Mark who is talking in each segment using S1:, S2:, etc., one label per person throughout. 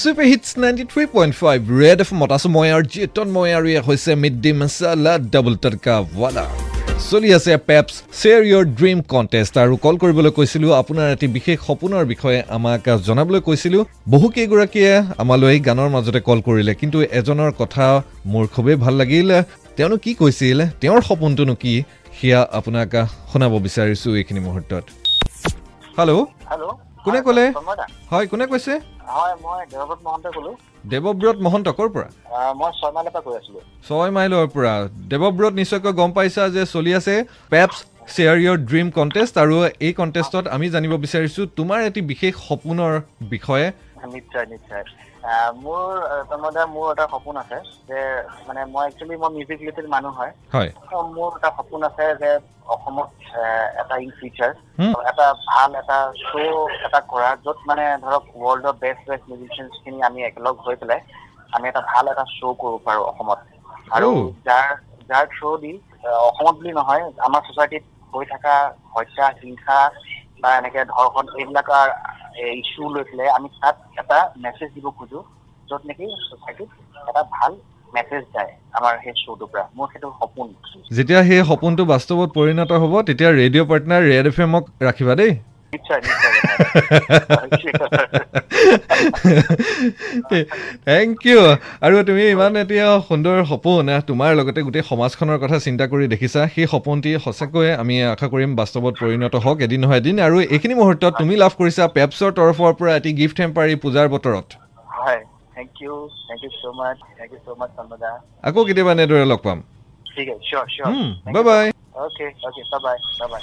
S1: Super hits ninety three point five red F মত আছোঁ মই আৰু জিতন মই আৰু এয়া হৈছে mid day masala double tadka ৱালা চলি আছে Pepsi share your dream contest আৰু কল কৰিবলৈ কৈছিলোঁ আপোনাৰ এটি বিশেষ সপোনৰ বিষয়ে আমাক জনাবলৈ কৈছিলোঁ বহুকেইগৰাকীয়ে আমালৈ গানৰ মাজতে কল কৰিলে কিন্তু এজনৰ কথা মোৰ খুবেই ভাল লাগিল তেওঁনো কি কৈছিল তেওঁৰ সপোনটোনো কি সেয়া আপোনাক শুনাব বিচাৰিছোঁ এইখিনি মুহূৰ্তত হেল্ল'
S2: হেল্ল'
S1: কোনে ক'লে?
S2: তন্ময় দা
S1: হয় কোনে কৈছে
S2: হয় মই দেৱব্ৰত মহন্তই ক'লো
S1: দেৱব্ৰত মহন্ত ক'ৰ পৰা
S2: আহ, মই ছয়মাইলৰ পৰা কৈ আছিলো
S1: ছয় মাইলৰ পৰা দেৱব্ৰত নিশ্চয়কৈ গম পাইছা যে চলি আছে Pepsi share your dream contest আৰু এই কণ্টেষ্টত আমি জানিব বিচাৰিছোঁ তোমাৰ এটি বিশেষ সপোনৰ বিষয়ে
S2: নিশ্চয় নিশ্চয় আহ, মোৰ আহ, তন্ময় দা মোৰ এটা সপোন আছে যে মানে মই একচুৱেলি মই মিউজিক ৰিলেটেড মানুহ হয়
S1: হয়
S2: তো মোৰ এটা সপোন আছে যে অসমত আহ, এটা ইন ফিউচাৰ
S1: হুম।
S2: এটা ভাল এটা শ্ব' এটা কৰা য'ত মানে ধৰক ৱৰ্ল্ডৰ বেষ্ট বেষ্ট মিউজিচিয়ানখিনি আমি একেলগ হৈ পেলাই আমি এটা ভাল এটা শ্ব' কৰিব পাৰোঁ অসমত আৰু
S1: Oh.
S2: যাৰ যাৰ থ্ৰ' দি আহ, অসমত বুলি নহয় আমাৰ ছ'চাইটিত হৈ থকা হত্যা হিংসা বা এনেকে ধৰ্ষণ এইবিলাকৰ ইছ্যু লৈ পেলাই আমি তাত এটা মেছেজ দিব খোজোঁ য'ত নেকি ছ'চাইটিত এটা ভাল মেছেজ যায় আমাৰ সেই শ্ব'টোৰ পৰা মোৰ সেইটো সপোন
S1: যেতিয়া সেই সপোনটো বাস্তৱত পৰিণত হ'ব তেতিয়া ৰেডিঅ' পাৰ্টনাৰ ৰেড এফ এমক ৰাখিবা দেই
S2: নিশ্চয় নিশ্চয়
S1: থেংক ইউ আৰু তুমি ইমান এতিয়া সুন্দৰ সপোন আহ, তোমাৰ লগতে গোটেই সমাজখনৰ কথা চিন্তা কৰি দেখিছা সেই সপোনটি সঁচাকৈয়ে আমি আশা কৰিম বাস্তৱত পৰিণত হওক এদিন নহয় এদিন আৰু এইখিনি মুহূৰ্তত তুমি লাভ কৰিছা পেপছৰ তৰফৰ পৰা এটি গিফ্ট হেম্পাৰ এই পূজাৰ বতৰত
S2: হয় thank you thank you so' much thank you so' much চন্দ্ৰদা
S1: আকৌ কেতিয়াবা এনেদৰে লগ পাম
S2: ঠিক আছে cheers cheers
S1: bye bye
S2: okay okay bye bye bye bye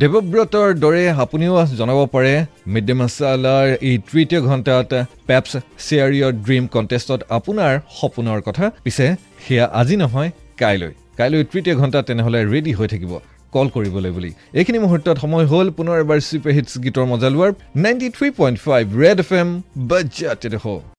S1: দেৱব্ৰতৰ দৰে আপুনিও জনাব পাৰে মিড ডে মাছালাৰ এই তৃতীয় ঘণ্টাত পেপছ শ্বেয়াৰ ইয়ৰ ড্ৰিম কণ্টেষ্টত আপোনাৰ সপোনৰ কথা পিছে সেয়া আজি নহয় কাইলৈ কাইলৈ তৃতীয় ঘণ্টাত তেনেহ'লে ৰেডি হৈ থাকিব কল কৰিবলৈ বুলি এইখিনি মুহূৰ্তত সময় হ'ল পুনৰ এবাৰ ছুপাৰ হিটছ গীতৰ মজা লোৱাৰ ninety three point five red F M বাজাত দেখো